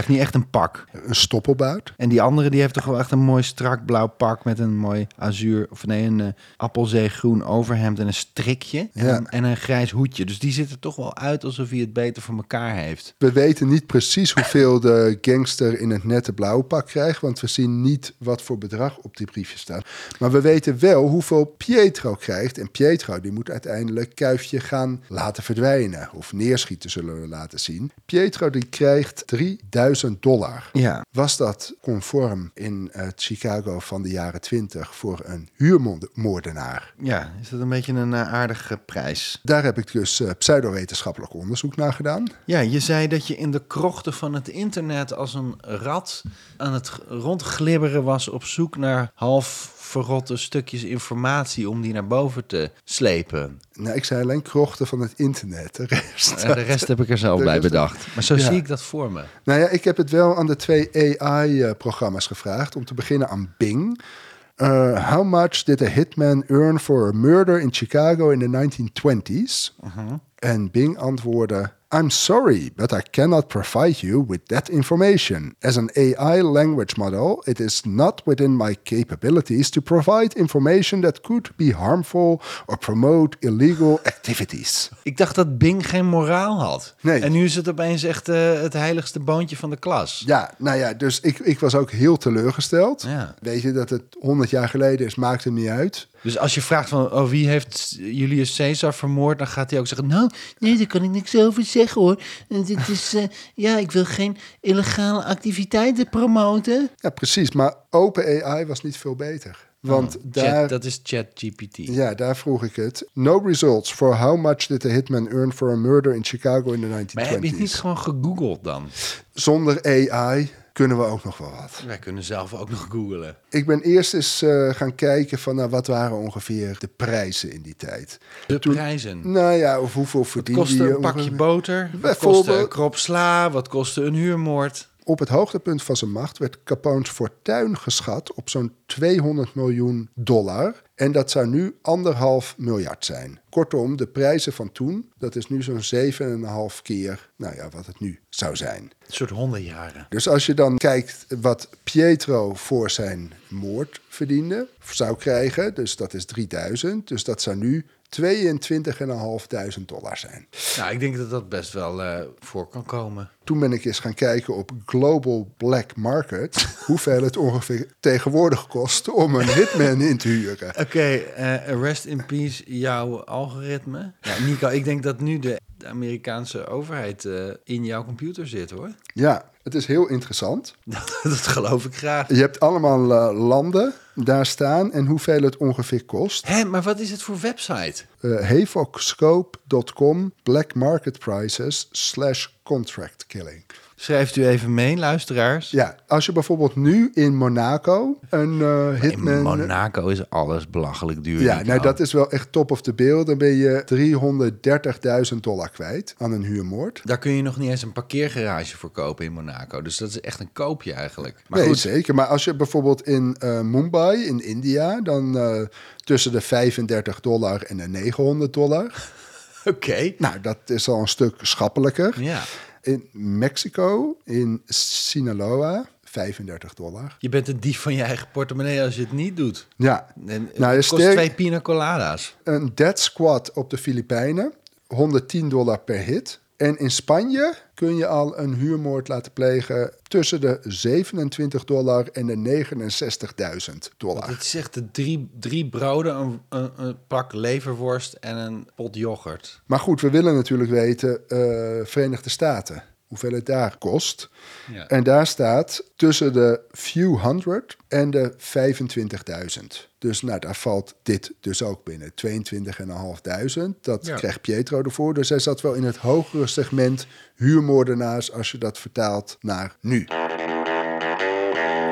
heeft niet echt een pak. Een stoppelbout. En die andere die heeft toch wel echt een mooi strak blauw pak met een mooi azuur, of nee, een eh, appelzeegroen overhemd en een strikje en, Ja. een, en een grijs hoedje. Dus die ziet er toch wel uit alsof hij het beter voor elkaar heeft. We weten niet precies hoeveel de gangster in het nette blauwe pak krijgt, want we zien niet wat voor bedrag op die briefje staat. Maar we weten wel hoeveel Pietro krijgt. En Pietro die moet uiteindelijk Kuifje gaan laten verdwijnen of neerschieten, zullen we laten zien. Pietro die krijgt 3000 dollar. Ja. Was dat conform in eh, Chicago van de jaren 20 voor een huurmoordenaar? Ja, is dat een beetje een eh, aardige prijs. Daar heb ik dus eh, pseudowetenschappelijk onderzoek naar gedaan. Ja, je zei dat je in de krochten van het internet als een rat aan het g- rondglibberen was op zoek naar half verrotte stukjes informatie om die naar boven te (laughs) slepen. Nou, ik zei alleen krochten van het internet. De (laughs) rest. Eh, de rest heb ik er zelf De bij rest- bedacht. Maar zo Ja. zie ik dat voor me. Nou ja, ik heb het wel aan de twee AI-programma's gevraagd. Om te beginnen aan Bing. Eh, how much did a hitman earn for a murder in Chicago in the 1920s? En Bing antwoordde... I'm sorry, but I cannot provide you with that information. As an AI language model, it is not within my capabilities to provide information that could be harmful or promote illegal activities. Ik dacht dat Bing geen moraal had. Nee. En nu is het opeens echt eh, het heiligste boontje van de klas. Ja, nou ja, dus ik, ik was ook heel teleurgesteld. Ja. Weet je, dat het 100 jaar geleden is, maakt het niet uit. Dus als je vraagt van oh, wie heeft Julius Caesar vermoord, dan gaat hij ook zeggen: Nou, nee, daar kan ik niks over zeggen hoor. Eh, Dit is, eh, ja, ik wil geen illegale activiteiten promoten. Ja, precies. Maar open AI was niet veel beter. Want daar... Chat, Oh, dat is ChatGPT. Ja, daar vroeg ik het. No results for how much did the hitman earn for a murder in Chicago in the 1920s. Maar heb je het niet gewoon gegoogeld dan? Zonder AI kunnen we ook nog wel wat. Wij kunnen zelf ook nog googelen. Ik ben eerst eens eh, gaan kijken van nou, wat waren ongeveer de prijzen in die tijd. De prijzen. Nou ja, of hoeveel verdiende Kostte je? een pakje boter, wat kostte Bijvoorbeeld- een krop sla, wat kostte een huurmoord. Op het hoogtepunt van zijn macht werd Capone's fortuin geschat op zo'n 200 miljoen dollar. En dat zou nu anderhalf miljard zijn. Kortom, de prijzen van toen, dat is nu zo'n 7,5 keer nou ja, wat het nu zou zijn. Een soort hondenjaren. Dus als je dan kijkt wat Pietro voor zijn moord verdiende, zou krijgen, dus dat is 3000, dus dat zou nu 22.500 dollar zijn. Nou, ik denk dat dat best wel eh, voor kan komen. Toen ben ik eens gaan kijken op Global Black Market (laughs) hoeveel het ongeveer tegenwoordig kost om een hitman in te huren. Oké, eh, rest in peace, jouw algoritme. Ja, Nico, ik denk dat nu de de Amerikaanse overheid eh, in jouw computer zit, hoor. (laughs) Ja, het is heel interessant. Dat, dat geloof ik graag. Je hebt allemaal eh, landen daar staan en hoeveel het ongeveer kost. Hé, maar wat is het voor website? Eh havocscope.com black market prices slash contract killing. Schrijft u even mee, luisteraars. Ja, als je bijvoorbeeld nu in Monaco een eh, in hitman... Monaco is alles belachelijk duur. Ja, Nico. nou dat is wel echt top of the bill. Dan ben je 330.000 dollar kwijt aan een huurmoord. Daar kun je nog niet eens een parkeergarage voor kopen in Monaco. Dus dat is echt een koopje eigenlijk. Maar nee, goed, zeker. Maar als je bijvoorbeeld in eh, Mumbai, in India, dan eh, tussen de 35 dollar en de 900 (laughs) dollar. (laughs) oké. Nou, dat is al een stuk schappelijker. Ja. In Mexico, in Sinaloa, 35 dollar. Je bent een dief van je eigen portemonnee als je het niet doet. Ja, En, eh, Nou, het je kost sterk- twee pina colada's. een dead squad op de Filipijnen, 110 dollar per hit. En in Spanje kun je al een huurmoord laten plegen tussen de 27 dollar en de 69.000 dollar. Het is echt de drie, drie broden, een, een, een pak leverworst en een pot yoghurt. Maar goed, we willen natuurlijk weten, eh, Verenigde Staten. hoeveel het daar kost. En daar staat tussen de few hundred en de 25.000. Dus nou, daar valt dit dus ook binnen. 22.500, dat krijgt Pietro ervoor. Dus hij zat wel in het hogere segment huurmoordenaars... als je dat vertaalt naar nu.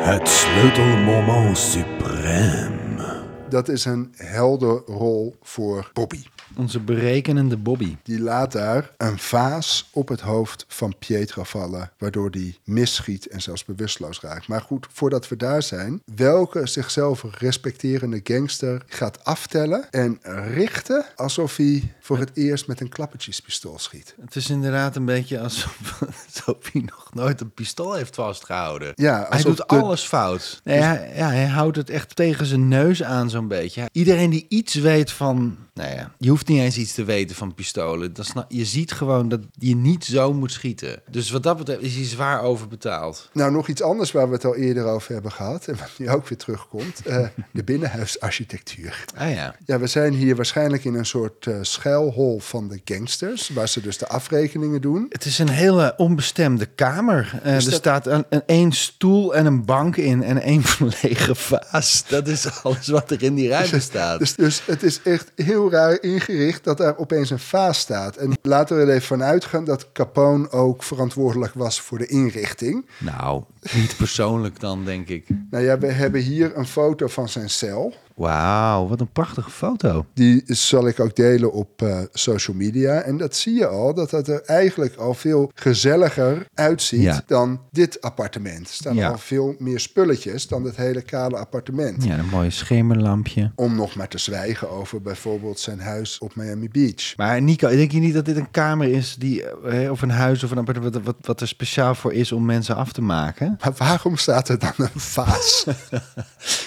Het sleutelmoment suprême. Dat is een helder rol voor Bobby. Onze berekenende Bobby. Die laat daar een vaas op het hoofd van Pietro vallen, waardoor die misschiet en zelfs bewusteloos raakt. Maar goed, voordat we daar zijn, welke zichzelf respecterende gangster gaat aftellen en richten alsof hij voor het eerst met een klappertjespistool schiet? Het is inderdaad een beetje alsof, (laughs) alsof hij nog nooit een pistool heeft vastgehouden. Ja, hij alsof doet de- alles fout. Dus- Nee, hij, ja, hij houdt het echt tegen zijn neus aan zo'n beetje. Iedereen die iets weet van... Nou ja, je hoeft niet eens iets te weten van pistolen. Dat sna- je ziet gewoon dat je niet zo moet schieten. Dus wat dat betreft is hij zwaar overbetaald. Nou, nog iets anders waar we het al eerder over hebben gehad en wat nu ook weer terugkomt: eh, de binnenhuisarchitectuur. Ah ja. Ja, we zijn hier waarschijnlijk in een soort eh, schuilhol van de gangsters, waar ze dus de afrekeningen doen. Het is een hele onbestemde kamer. Eh, er dat- staat een, een, één stoel en een bank in en één (laughs) lege vaas. Dat is alles wat er in die ruimte staat. Dus, dus het is echt heel raar ingericht dat daar opeens een vaas staat. En laten we er even van uitgaan dat Capone ook verantwoordelijk was voor de inrichting. Nou, niet persoonlijk dan, denk ik. Nou ja, we hebben hier een foto van zijn cel. Wauw, wat een prachtige foto. Die zal ik ook delen op eh, social media. En dat zie je al, dat het er eigenlijk al veel gezelliger uitziet Ja. dan dit appartement. Er staan Ja. al veel meer spulletjes dan het hele kale appartement. Ja, een mooi schemerlampje. Om nog maar te zwijgen over bijvoorbeeld zijn huis op Miami Beach. Maar Nico, denk je niet dat dit een kamer is die, eh, of een huis of een appartement, wat, wat, wat er speciaal voor is om mensen af te maken? Maar waarom staat er dan een vaas? (laughs)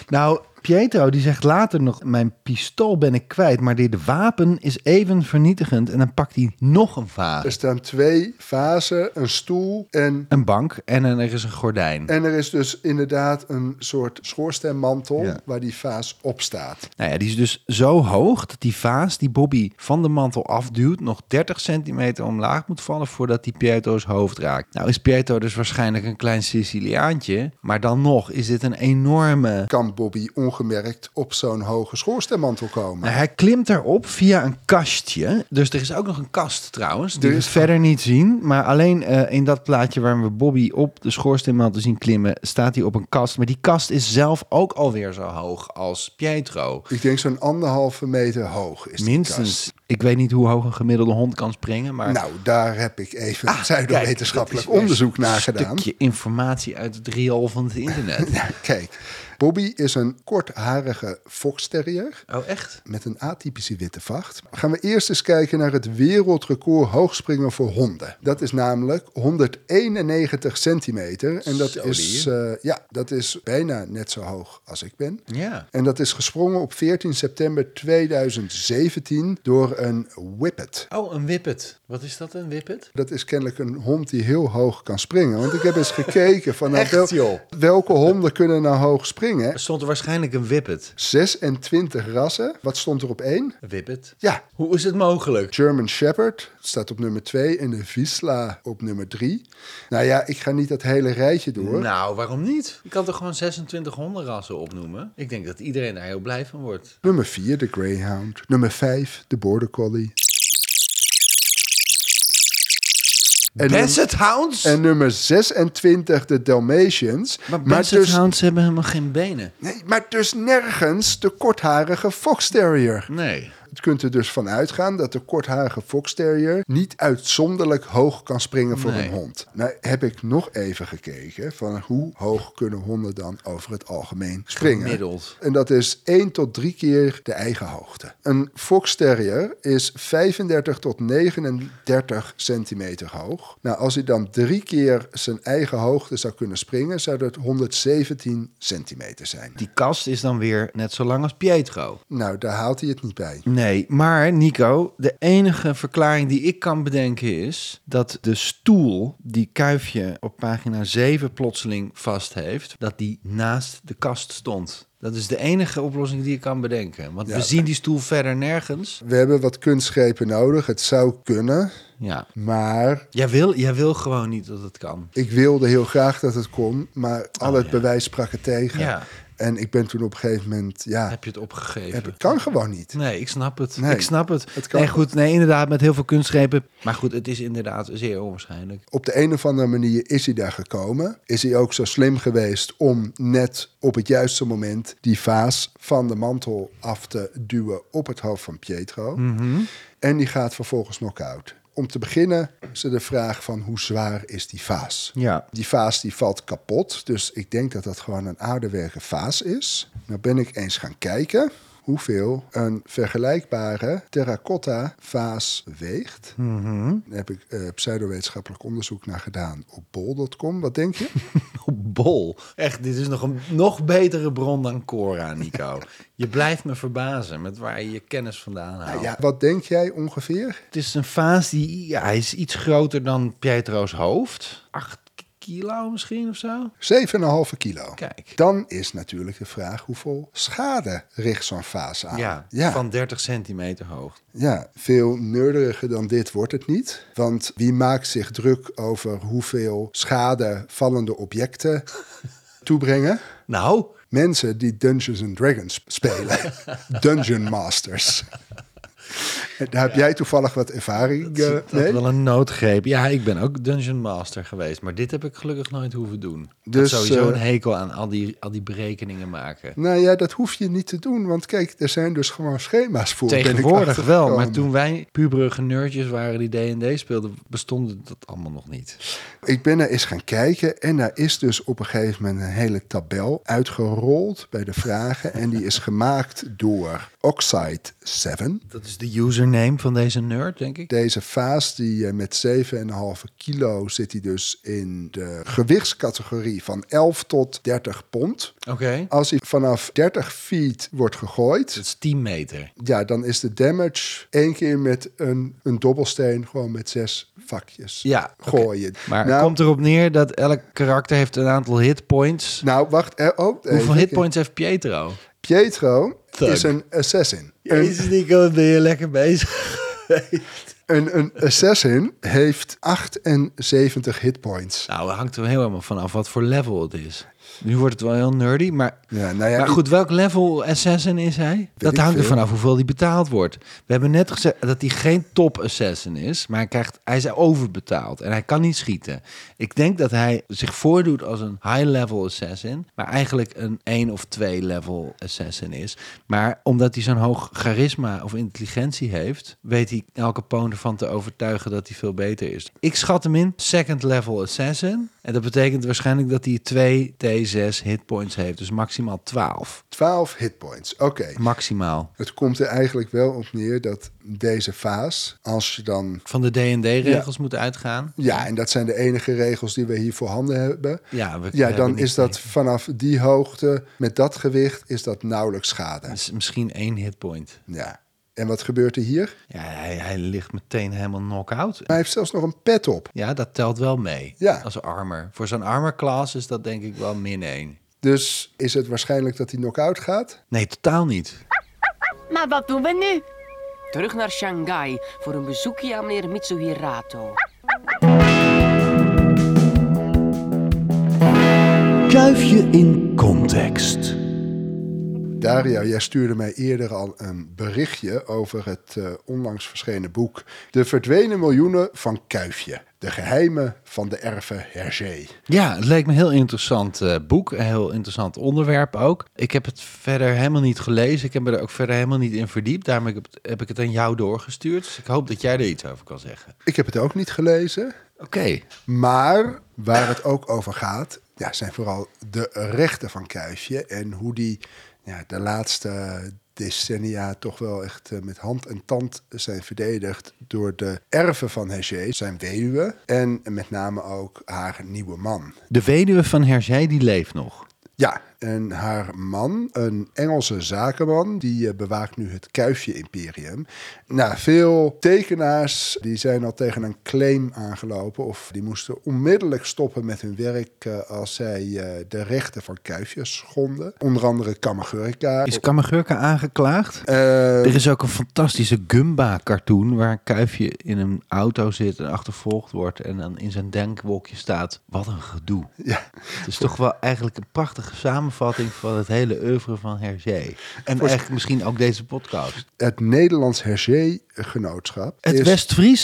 Nou, Pietro die zegt later nog: Mijn pistool ben ik kwijt, maar dit wapen is even vernietigend. En dan pakt hij nog een er vaas, staan twee vazen, een stoel en... een bank en een- er is een gordijn. En er is dus inderdaad een soort schoorsteenmantel Ja. waar die vaas op staat. Nou ja, die is dus zo hoog dat die vaas die Bobby van de mantel afduwt... nog 30 centimeter omlaag moet vallen voordat die Pietro's hoofd raakt. Nou is Pietro dus waarschijnlijk een klein Siciliaantje... maar dan nog is dit een enorme... Kan Bobby ongemerkt op zo'n hoge schoorsteenmantel komen? Nou, hij klimt erop via een kastje. Dus er is ook nog een kast trouwens, die Er we is- verder niet zien. Maar alleen eh, in dat plaatje waar we Bobby op de schoorsteenmantel zien klimmen... staat hij op een kast. Maar die kast is zelf ook alweer zo hoog als Pietro. Ik denk zo'n anderhalve meter hoog is die kast. Minstens. Ik weet niet hoe hoog een gemiddelde hond kan springen, maar... Ah, Nou, daar heb ik even (laughs) pseudowetenschappelijk Kijk, dat is onderzoek weer naar Een gedaan. stukje informatie uit het riool van het (laughs) internet. Kijk, Bobby is een kortharige foxterrier. oh, echt? met een atypische witte vacht. Gaan we eerst eens kijken naar het wereldrecord hoogspringen voor honden. Dat is namelijk 191 centimeter. En dat, Zo, is, eh, ja, dat is bijna net zo hoog als ik ben. Ja. En dat is gesprongen op 14 september 2017 door een whippet. Oh, een whippet. Wat is dat, een whippet? Dat is kennelijk een hond die heel hoog kan springen. Want ik heb eens gekeken van nou, Echt, wel- joh? welke honden kunnen nou hoog springen. Er stond er waarschijnlijk een whippet. 26 rassen. Wat stond er op één? Een whippet? Ja, Hoe is het mogelijk? German Shepherd staat op nummer 2 en de Visla op nummer 3. Nou ja, ik ga niet dat hele rijtje door. Nou, waarom niet? Je kan toch gewoon 26 hondenrassen opnoemen? Ik denk dat iedereen daar heel blij van wordt. Nummer 4 de Greyhound. Nummer 5 de Border Collie. En, num- Basset Hounds? en nummer 26 de Dalmatians. maar Basset dus, Hounds hebben helemaal geen benen. nee, maar dus nergens de kortharige Fox Terrier. Nee. Je kunt er dus van uitgaan dat de kortharige Fox Terrier niet uitzonderlijk hoog kan springen voor Nee. een hond. Nou heb ik nog even gekeken van hoe hoog kunnen honden dan over het algemeen springen. Gemiddeld. En dat is 1 tot 3 keer de eigen hoogte. Een Fox Terrier is 35 tot 39 centimeter hoog. Nou, als hij dan drie keer zijn eigen hoogte zou kunnen springen, zou dat 117 centimeter zijn. Die kast is dan weer net zo lang als Pietro. Nou, daar haalt hij het niet bij. Nee, maar Nico, de enige verklaring die ik kan bedenken is dat de stoel die Kuifje op pagina 7 plotseling vast heeft, dat die naast de kast stond. Dat is de enige oplossing die ik kan bedenken. Want we zien die stoel verder nergens. We hebben wat kunstgrepen nodig. Het zou kunnen. Ja. Maar Jij wil, jij wil gewoon niet dat het kan. ik wilde heel graag dat het kon, maar al het bewijs sprak het tegen. Oh, Ja. En ik ben toen op een gegeven moment, ja, Heb je het opgegeven? heb, het kan gewoon niet. Nee, ik snap het. Nee, ik snap het. het kan nee, goed. Nee, inderdaad, met heel veel kunstgrepen. Maar goed, het is inderdaad zeer onwaarschijnlijk. Op de een of andere manier is hij daar gekomen. Is hij ook zo slim geweest om net op het juiste moment die vaas van de mantel af te duwen op het hoofd van Pietro. En die gaat vervolgens knock-out. Om te beginnen is er de vraag van hoe zwaar is die vaas? Ja. Die vaas die valt kapot, dus ik denk dat dat gewoon een aardewerken vaas is. Nou ben ik eens gaan kijken hoeveel een vergelijkbare terracotta vaas weegt. Daar heb ik eh, pseudowetenschappelijk onderzoek naar gedaan op bol.com. Wat denk je? Op bol. Echt, dit is nog een nog betere bron dan Cora, Nico. Je blijft me verbazen met waar je je kennis vandaan haalt. ja, wat denk jij ongeveer? Nou Het is een vaas die ja, hij is iets groter dan Pietro's hoofd. 8 kilo misschien of zo. 7,5 kilo. Kijk. Dan is natuurlijk de vraag hoeveel schade richt zo'n vaas aan? Ah, Ja, van 30 centimeter hoog. Ja, veel neurderiger dan dit wordt het niet. Want wie maakt zich druk over hoeveel schade vallende (laughs) objecten toebrengen? Nou, Mensen die Dungeons and Dragons (laughs) spelen. Dungeon Masters. En Daar heb jij toevallig wat ervaring eh, dat mee. wel een noodgreep. Ja, ik ben ook Dungeon Master geweest. Maar dit heb ik gelukkig nooit hoeven doen. Ik Dus, had sowieso eh, een hekel aan al die, al die berekeningen maken. Nou ja, dat hoef je niet te doen. Want kijk, er zijn dus gewoon schema's voor. ben ik Tegenwoordig wel, maar achtergekomen. toen wij puberige nerdjes waren die D&D speelden, bestond dat allemaal nog niet. Ik ben daar eens gaan kijken en daar is dus op een gegeven moment een hele tabel uitgerold bij de vragen. En die is gemaakt door Oxide 7. Dat is de username van deze nerd, denk ik. Deze vaas die eh, met 7,5 kilo zit hij dus in de gewichtscategorie van 11 tot 30 pond. Oké. Als hij vanaf 30 feet wordt gegooid, Dat is 10 meter. ja, dan is de damage één keer met een, een dobbelsteen gewoon met zes vakjes Ja, oké. gooien. Maar Nou, komt erop neer dat elk karakter heeft een aantal hitpoints. nou, wacht. eh, Oh, Hoeveel even. hitpoints heeft Pietro? Pietro Thug. is een assassin. Een, Jezus Nico, ben je lekker bezig. een, een assassin heeft 78 hitpoints. (laughs) Nou, dat hangt er heel helemaal vanaf wat voor level het is. Nu wordt het wel heel nerdy, maar, Ja, nou ja, maar ik- goed, welk level assassin is hij? Dat ik hangt er veel. vanaf hoeveel die betaald wordt. We hebben net gezegd dat hij geen top assassin is, maar hij, krijgt, hij is overbetaald en hij kan niet schieten. Ik denk dat hij zich voordoet als een high level assassin, maar eigenlijk een 1 of 2 level assassin is. Maar omdat hij zo'n hoog charisma of intelligentie heeft, weet hij elke poon ervan te overtuigen dat hij veel beter is. Ik schat hem in second level assassin. En dat betekent waarschijnlijk dat hij 2 T6 hitpoints heeft. Dus maximaal 12. 12 hitpoints. Oké. Maximaal. Het komt er eigenlijk wel op neer dat deze vaas, als je dan. Van de D&D-regels moet uitgaan. Ja, en dat zijn de enige regels die we hier voorhanden hebben. Ja, we- we ja hebben dan niks is dat meer. vanaf die hoogte, met dat gewicht, is dat nauwelijks schade. Dus misschien één hitpoint. Ja. En wat gebeurt er hier? Ja, hij, hij ligt meteen helemaal knock-out. Hij heeft zelfs nog een pet op. Ja, dat telt wel mee. Ja. Als armor. Voor zo'n armor class is dat denk ik wel min 1. Dus is het waarschijnlijk dat hij knock-out gaat? Nee, totaal niet. Maar wat doen we nu? Terug naar Shanghai voor een bezoekje aan meneer Mitsuhirato. Kuifje in context. Dario, jij stuurde mij eerder al een berichtje over het eh, onlangs verschenen boek De verdwenen miljoenen van Kuifje. De geheimen van de erven Hergé. Ja, het leek me een heel interessant eh, boek. Een heel interessant onderwerp ook. Ik heb het verder helemaal niet gelezen. Ik heb me er ook verder helemaal niet in verdiept. Daarom heb ik het, heb ik het aan jou doorgestuurd. Dus ik hoop dat jij er iets over kan zeggen. Ik heb het ook niet gelezen, Oké. maar waar het ook over gaat, ja, zijn vooral de rechten van Kuifje en hoe die ja, de laatste decennia toch wel echt eh, met hand en tand zijn verdedigd door de erven van Hergé, zijn weduwe en met name ook haar nieuwe man. De weduwe van Hergé, die leeft nog. Ja, En haar man, een Engelse zakenman, die eh, bewaakt nu het Kuifje-imperium. Nou, veel tekenaars die zijn al tegen een claim aangelopen... of die moesten onmiddellijk stoppen met hun werk... eh, als zij eh, de rechten van Kuifje schonden. Onder andere Kamagurka. Is Kamagurka aangeklaagd? Eh, Er is ook een fantastische Gumba-cartoon waar een kuifje in een auto zit en achtervolgd wordt en dan in zijn denkwolkje staat. Wat een gedoe. ja. Het is toch wel eigenlijk een prachtige samenvatting van het hele oeuvre van Hergé. En eigenlijk misschien ook deze podcast. Het Nederlands Hergé-genootschap Het is... West-Fries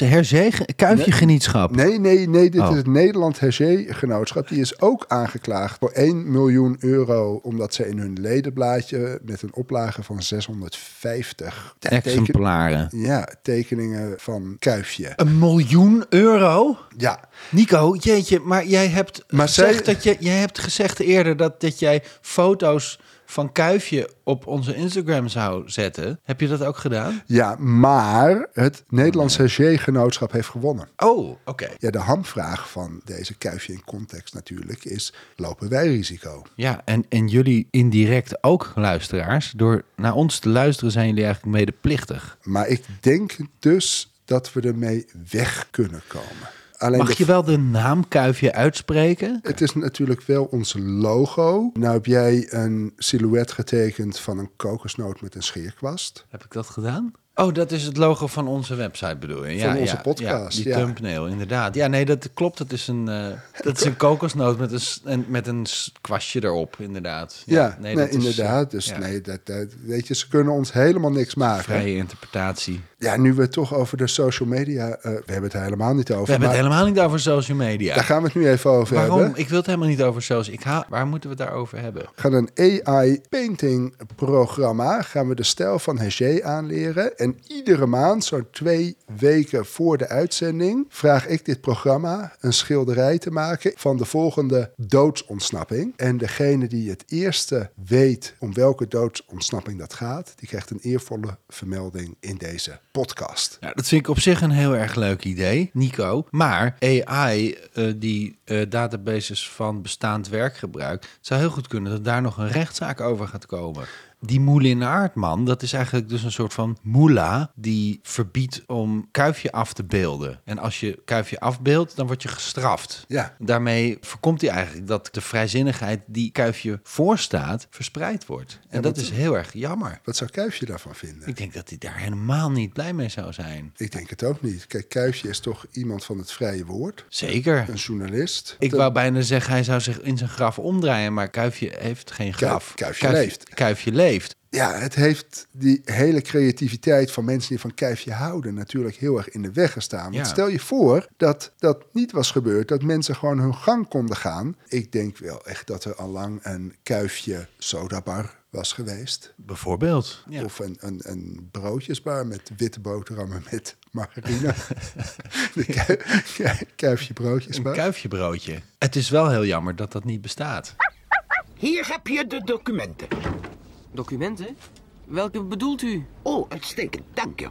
Hergé-kuifje-genietschap. Nee, nee, nee. Dit Oh. is het Nederland Hergé-genootschap. Die is ook aangeklaagd voor 1 miljoen euro... omdat ze in hun ledenblaadje met een oplage van 650... te- teken- Exemplaren. ja, tekeningen van Kuifje. Een miljoen euro? Ja, Nico, jeetje, maar jij hebt, Maar gezegd, zij- dat je, jij hebt gezegd eerder dat, dat jij foto's van Kuifje op onze Instagram zou zetten. Heb je dat ook gedaan? ja maar het Nederlands Hergé-genootschap heeft gewonnen. Oh, oké. Ja, de hamvraag van deze Kuifje in context natuurlijk is... lopen wij risico? Ja, en, en jullie indirect ook, luisteraars. Door naar ons te luisteren zijn jullie eigenlijk medeplichtig. Maar ik denk dus dat we ermee weg kunnen komen. Alleen Mag de je wel de naam Kuifje uitspreken? Het is natuurlijk wel ons logo. Nou heb jij een silhouet getekend van een kokosnoot met een scheerkwast. Heb ik dat gedaan? Oh, dat is het logo van onze website bedoel je? Ja, Van onze ja, podcast, Ja, die ja. thumbnail, inderdaad. Ja, nee, dat klopt. Dat is een, (laughs) eh, dat is een kokosnoot met een, s- en- met een s- kwastje erop, inderdaad. Ja, nee, dat is, eh, inderdaad. dus ja, nee, dat, dat, weet je, ze kunnen ons helemaal niks maken. Vrije interpretatie. We Ja, nu we het toch over de social media... eh, we hebben het er helemaal niet over. hebben het maar helemaal niet over social media. Daar gaan we het nu even over Waarom? hebben. Ik wil het helemaal niet over social. Ik haal, waar moeten we het daarover hebben? Gaan een AI-painting-programma gaan we de stijl van Hergé aanleren. En iedere maand, zo'n twee weken voor de uitzending, vraag ik dit programma een schilderij te maken van de volgende doodsontsnapping. En degene die het eerste weet om welke doodsontsnapping dat gaat, die krijgt een eervolle vermelding in deze podcast. Ja, dat vind ik op zich een heel erg leuk idee, Nico. Maar AI, eh, die eh, databases van bestaand werk gebruikt, het zou heel goed kunnen dat daar nog een rechtszaak over gaat komen. Die Moulinaardman, dat is eigenlijk dus een soort van moela die verbiedt om kuifje af te beelden. En als je kuifje afbeeldt, dan word je gestraft. Ja. Daarmee voorkomt hij eigenlijk dat de vrijzinnigheid die kuifje voorstaat, verspreid wordt. En dat is heel erg jammer. Wat zou Kuifje daarvan vinden? Ik denk dat hij daar helemaal niet blij mee zou zijn. Ik denk het ook niet. Kijk, Kuifje is toch iemand van het vrije woord? Zeker. Een journalist? Ik Dat- wou bijna zeggen, hij zou zich in zijn graf omdraaien, maar Kuifje heeft geen graf. Kuifje leeft. Kuifje leeft. Ja, het heeft die hele creativiteit van mensen die van kijfje houden natuurlijk heel erg in de weg gestaan. Want Ja. stel je voor dat dat niet was gebeurd, dat mensen gewoon hun gang konden gaan. Ik denk wel echt dat er allang een kuifje sodabar was geweest. Bijvoorbeeld. Ja. Of een, een, een broodjesbar met witte boterhammen met (laughs) margarine. De ku- ku- kuifje Een broodjesbar. kuifje broodje. Het is wel heel jammer dat dat niet bestaat. Hier heb je de documenten. Documenten? Welke bedoelt u? Oh, uitstekend, dank je.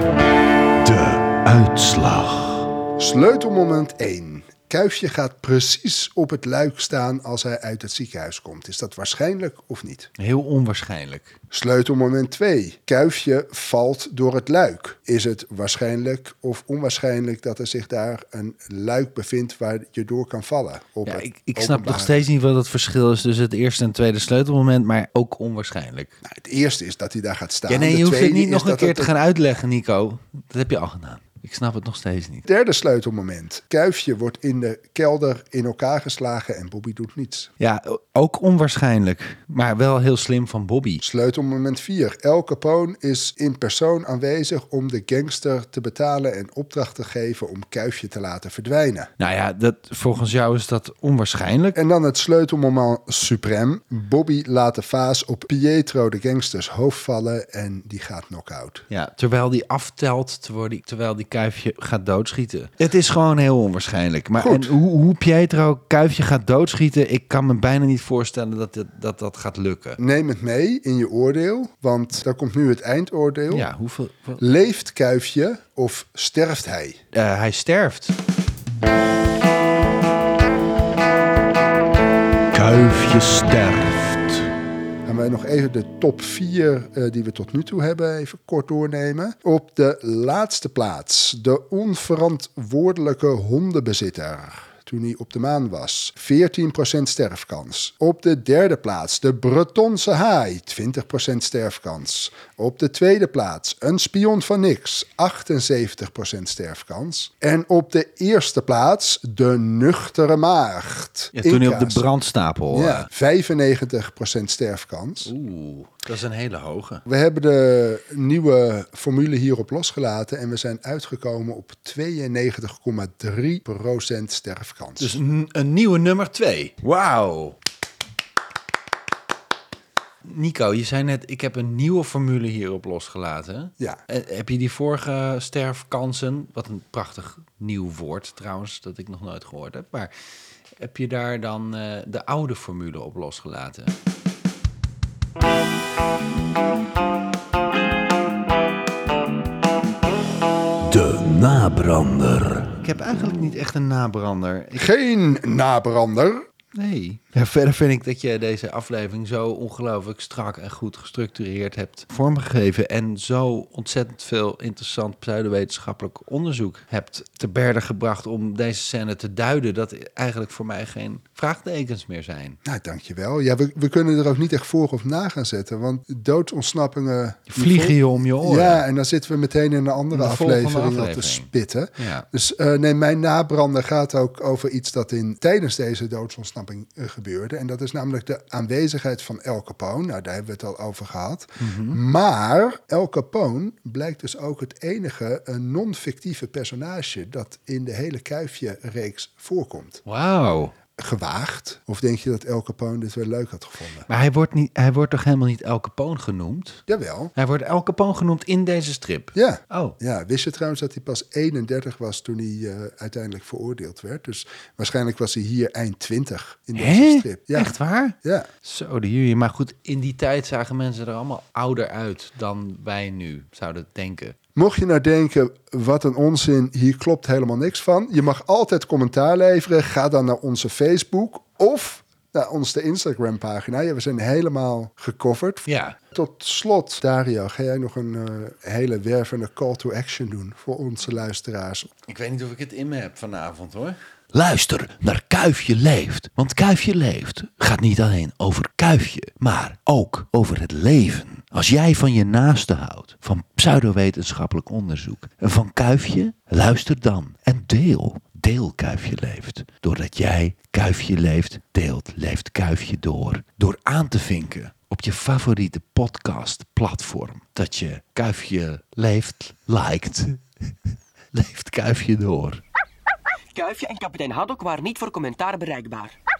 De uitslag. Sleutelmoment 1. Kuifje gaat precies op het luik staan als hij uit het ziekenhuis komt. Is dat waarschijnlijk of niet? Heel onwaarschijnlijk. Sleutelmoment 2. Kuifje valt door het luik. Is het waarschijnlijk of onwaarschijnlijk dat er zich daar een luik bevindt waar je door kan vallen? Op Ja, het ik, ik snap openbaar- nog steeds niet wat het verschil is tussen het eerste en tweede sleutelmoment, maar ook onwaarschijnlijk. Nou, het eerste is dat hij daar gaat staan. ja, nee, De je hoeft het tweede niet is nog een dat keer het te gaan uitleggen, Nico. Dat heb je al gedaan. Ik snap het nog steeds niet. Derde sleutelmoment. Kuifje wordt in de kelder in elkaar geslagen en Bobby doet niets. Ja, ook onwaarschijnlijk, maar wel heel slim van Bobby. Sleutelmoment 4. El Capone is in persoon aanwezig om de gangster te betalen en opdracht te geven om Kuifje te laten verdwijnen. Nou ja, dat, volgens jou is dat onwaarschijnlijk. En dan het sleutelmoment suprem. Bobby laat de vaas op Pietro de gangsters hoofd vallen en die gaat knock-out. Ja, terwijl die aftelt, terwijl die, terwijl die kuifje gaat doodschieten. Het is gewoon heel onwaarschijnlijk. Maar en Goed. hoe, hoe Pietro kuifje gaat doodschieten, ik kan me bijna niet voorstellen dat dit- dat, dat gaat lukken. Neem het mee in je oordeel, want daar komt nu het eindoordeel. Ja, hoeveel. wat- Leeft Kuifje of sterft hij? eh, hij sterft. Kuifje sterft. Gaan wij nog even de top 4 eh, die we tot nu toe hebben even kort doornemen. Op de laatste plaats, de onverantwoordelijke hondenbezitter. Toen hij op de maan was. 14% sterfkans. Op de derde plaats de Bretonse haai. 20% sterfkans. Op de tweede plaats een spion van niks. 78% sterfkans. En op de eerste plaats de nuchtere maagd. Ja, toen hij op Inca's. de brandstapel. Ja, Ja. 95% sterfkans. Oeh, dat is een hele hoge. We hebben de nieuwe formule hierop losgelaten en we zijn uitgekomen op 92,3% sterfkans. Dus een, een nieuwe nummer twee. Wauw. Nico, je zei net, ik heb een nieuwe formule hierop losgelaten. Ja. Eh, Heb je die vorige sterfkansen, wat een prachtig nieuw woord trouwens, dat ik nog nooit gehoord heb. Maar heb je daar dan eh, de oude formule op losgelaten? De nabrander. Ik heb eigenlijk niet echt een nabrander. Ik- Geen nabrander. Nee. Ja, verder vind ik dat je deze aflevering zo ongelooflijk strak en goed gestructureerd hebt vormgegeven. En zo ontzettend veel interessant pseudowetenschappelijk onderzoek hebt te berde gebracht om deze scène te duiden. Dat eigenlijk voor mij geen vraagtekens meer zijn. Nou, dankjewel. Ja, we, we kunnen er ook niet echt voor of na gaan zetten, want doodsontsnappingen... Vliegen je om je oren. Ja, en dan zitten we meteen in een andere De volgende aflevering, al te aflevering. spitten. Ja. Dus eh, nee, mijn nabrander gaat ook over iets dat in, tijdens deze doodsontsnapping eh, gebeurde. En dat is namelijk de aanwezigheid van El Capone. Nou, daar hebben we het al over gehad. Mhm. Maar El Capone blijkt dus ook het enige eh, non-fictieve personage dat in de hele Kuifje-reeks voorkomt. Wauw. Gewaagd? Of denk je dat El Capone dit wel leuk had gevonden? Maar hij wordt, niet, hij wordt toch helemaal niet El Capone genoemd? Jawel. Hij wordt El Capone genoemd in deze strip. Ja. Oh. Ja, wist je trouwens dat hij pas 31 was toen hij eh, uiteindelijk veroordeeld werd? Dus waarschijnlijk was hij hier eind 20 in deze Hè? strip. Ja. Echt waar? Ja. Zo, de jullie. Maar goed, in die tijd zagen mensen er allemaal ouder uit dan wij nu zouden denken. Mocht je nou denken, wat een onzin, hier klopt helemaal niks van. Je mag altijd commentaar leveren. Ga dan naar onze Facebook of naar onze Instagram pagina. Ja, we zijn helemaal gecoverd. Ja. Tot slot, Dario, ga jij nog een eh, hele wervende call to action doen voor onze luisteraars? Ik weet niet of ik het in me heb vanavond hoor. Luister naar Kuifje Leeft. Want Kuifje Leeft gaat niet alleen over Kuifje, maar ook over het leven. Als jij van je naaste houdt, van pseudowetenschappelijk onderzoek en van Kuifje, luister dan en deel. Deel Kuifje Leeft. Doordat jij Kuifje Leeft deelt, leeft Kuifje door. Door aan te vinken op je favoriete podcastplatform. Dat je Kuifje Leeft liked. (laughs) leeft Kuifje door. Kuifje en kapitein Haddock waren niet voor commentaar bereikbaar.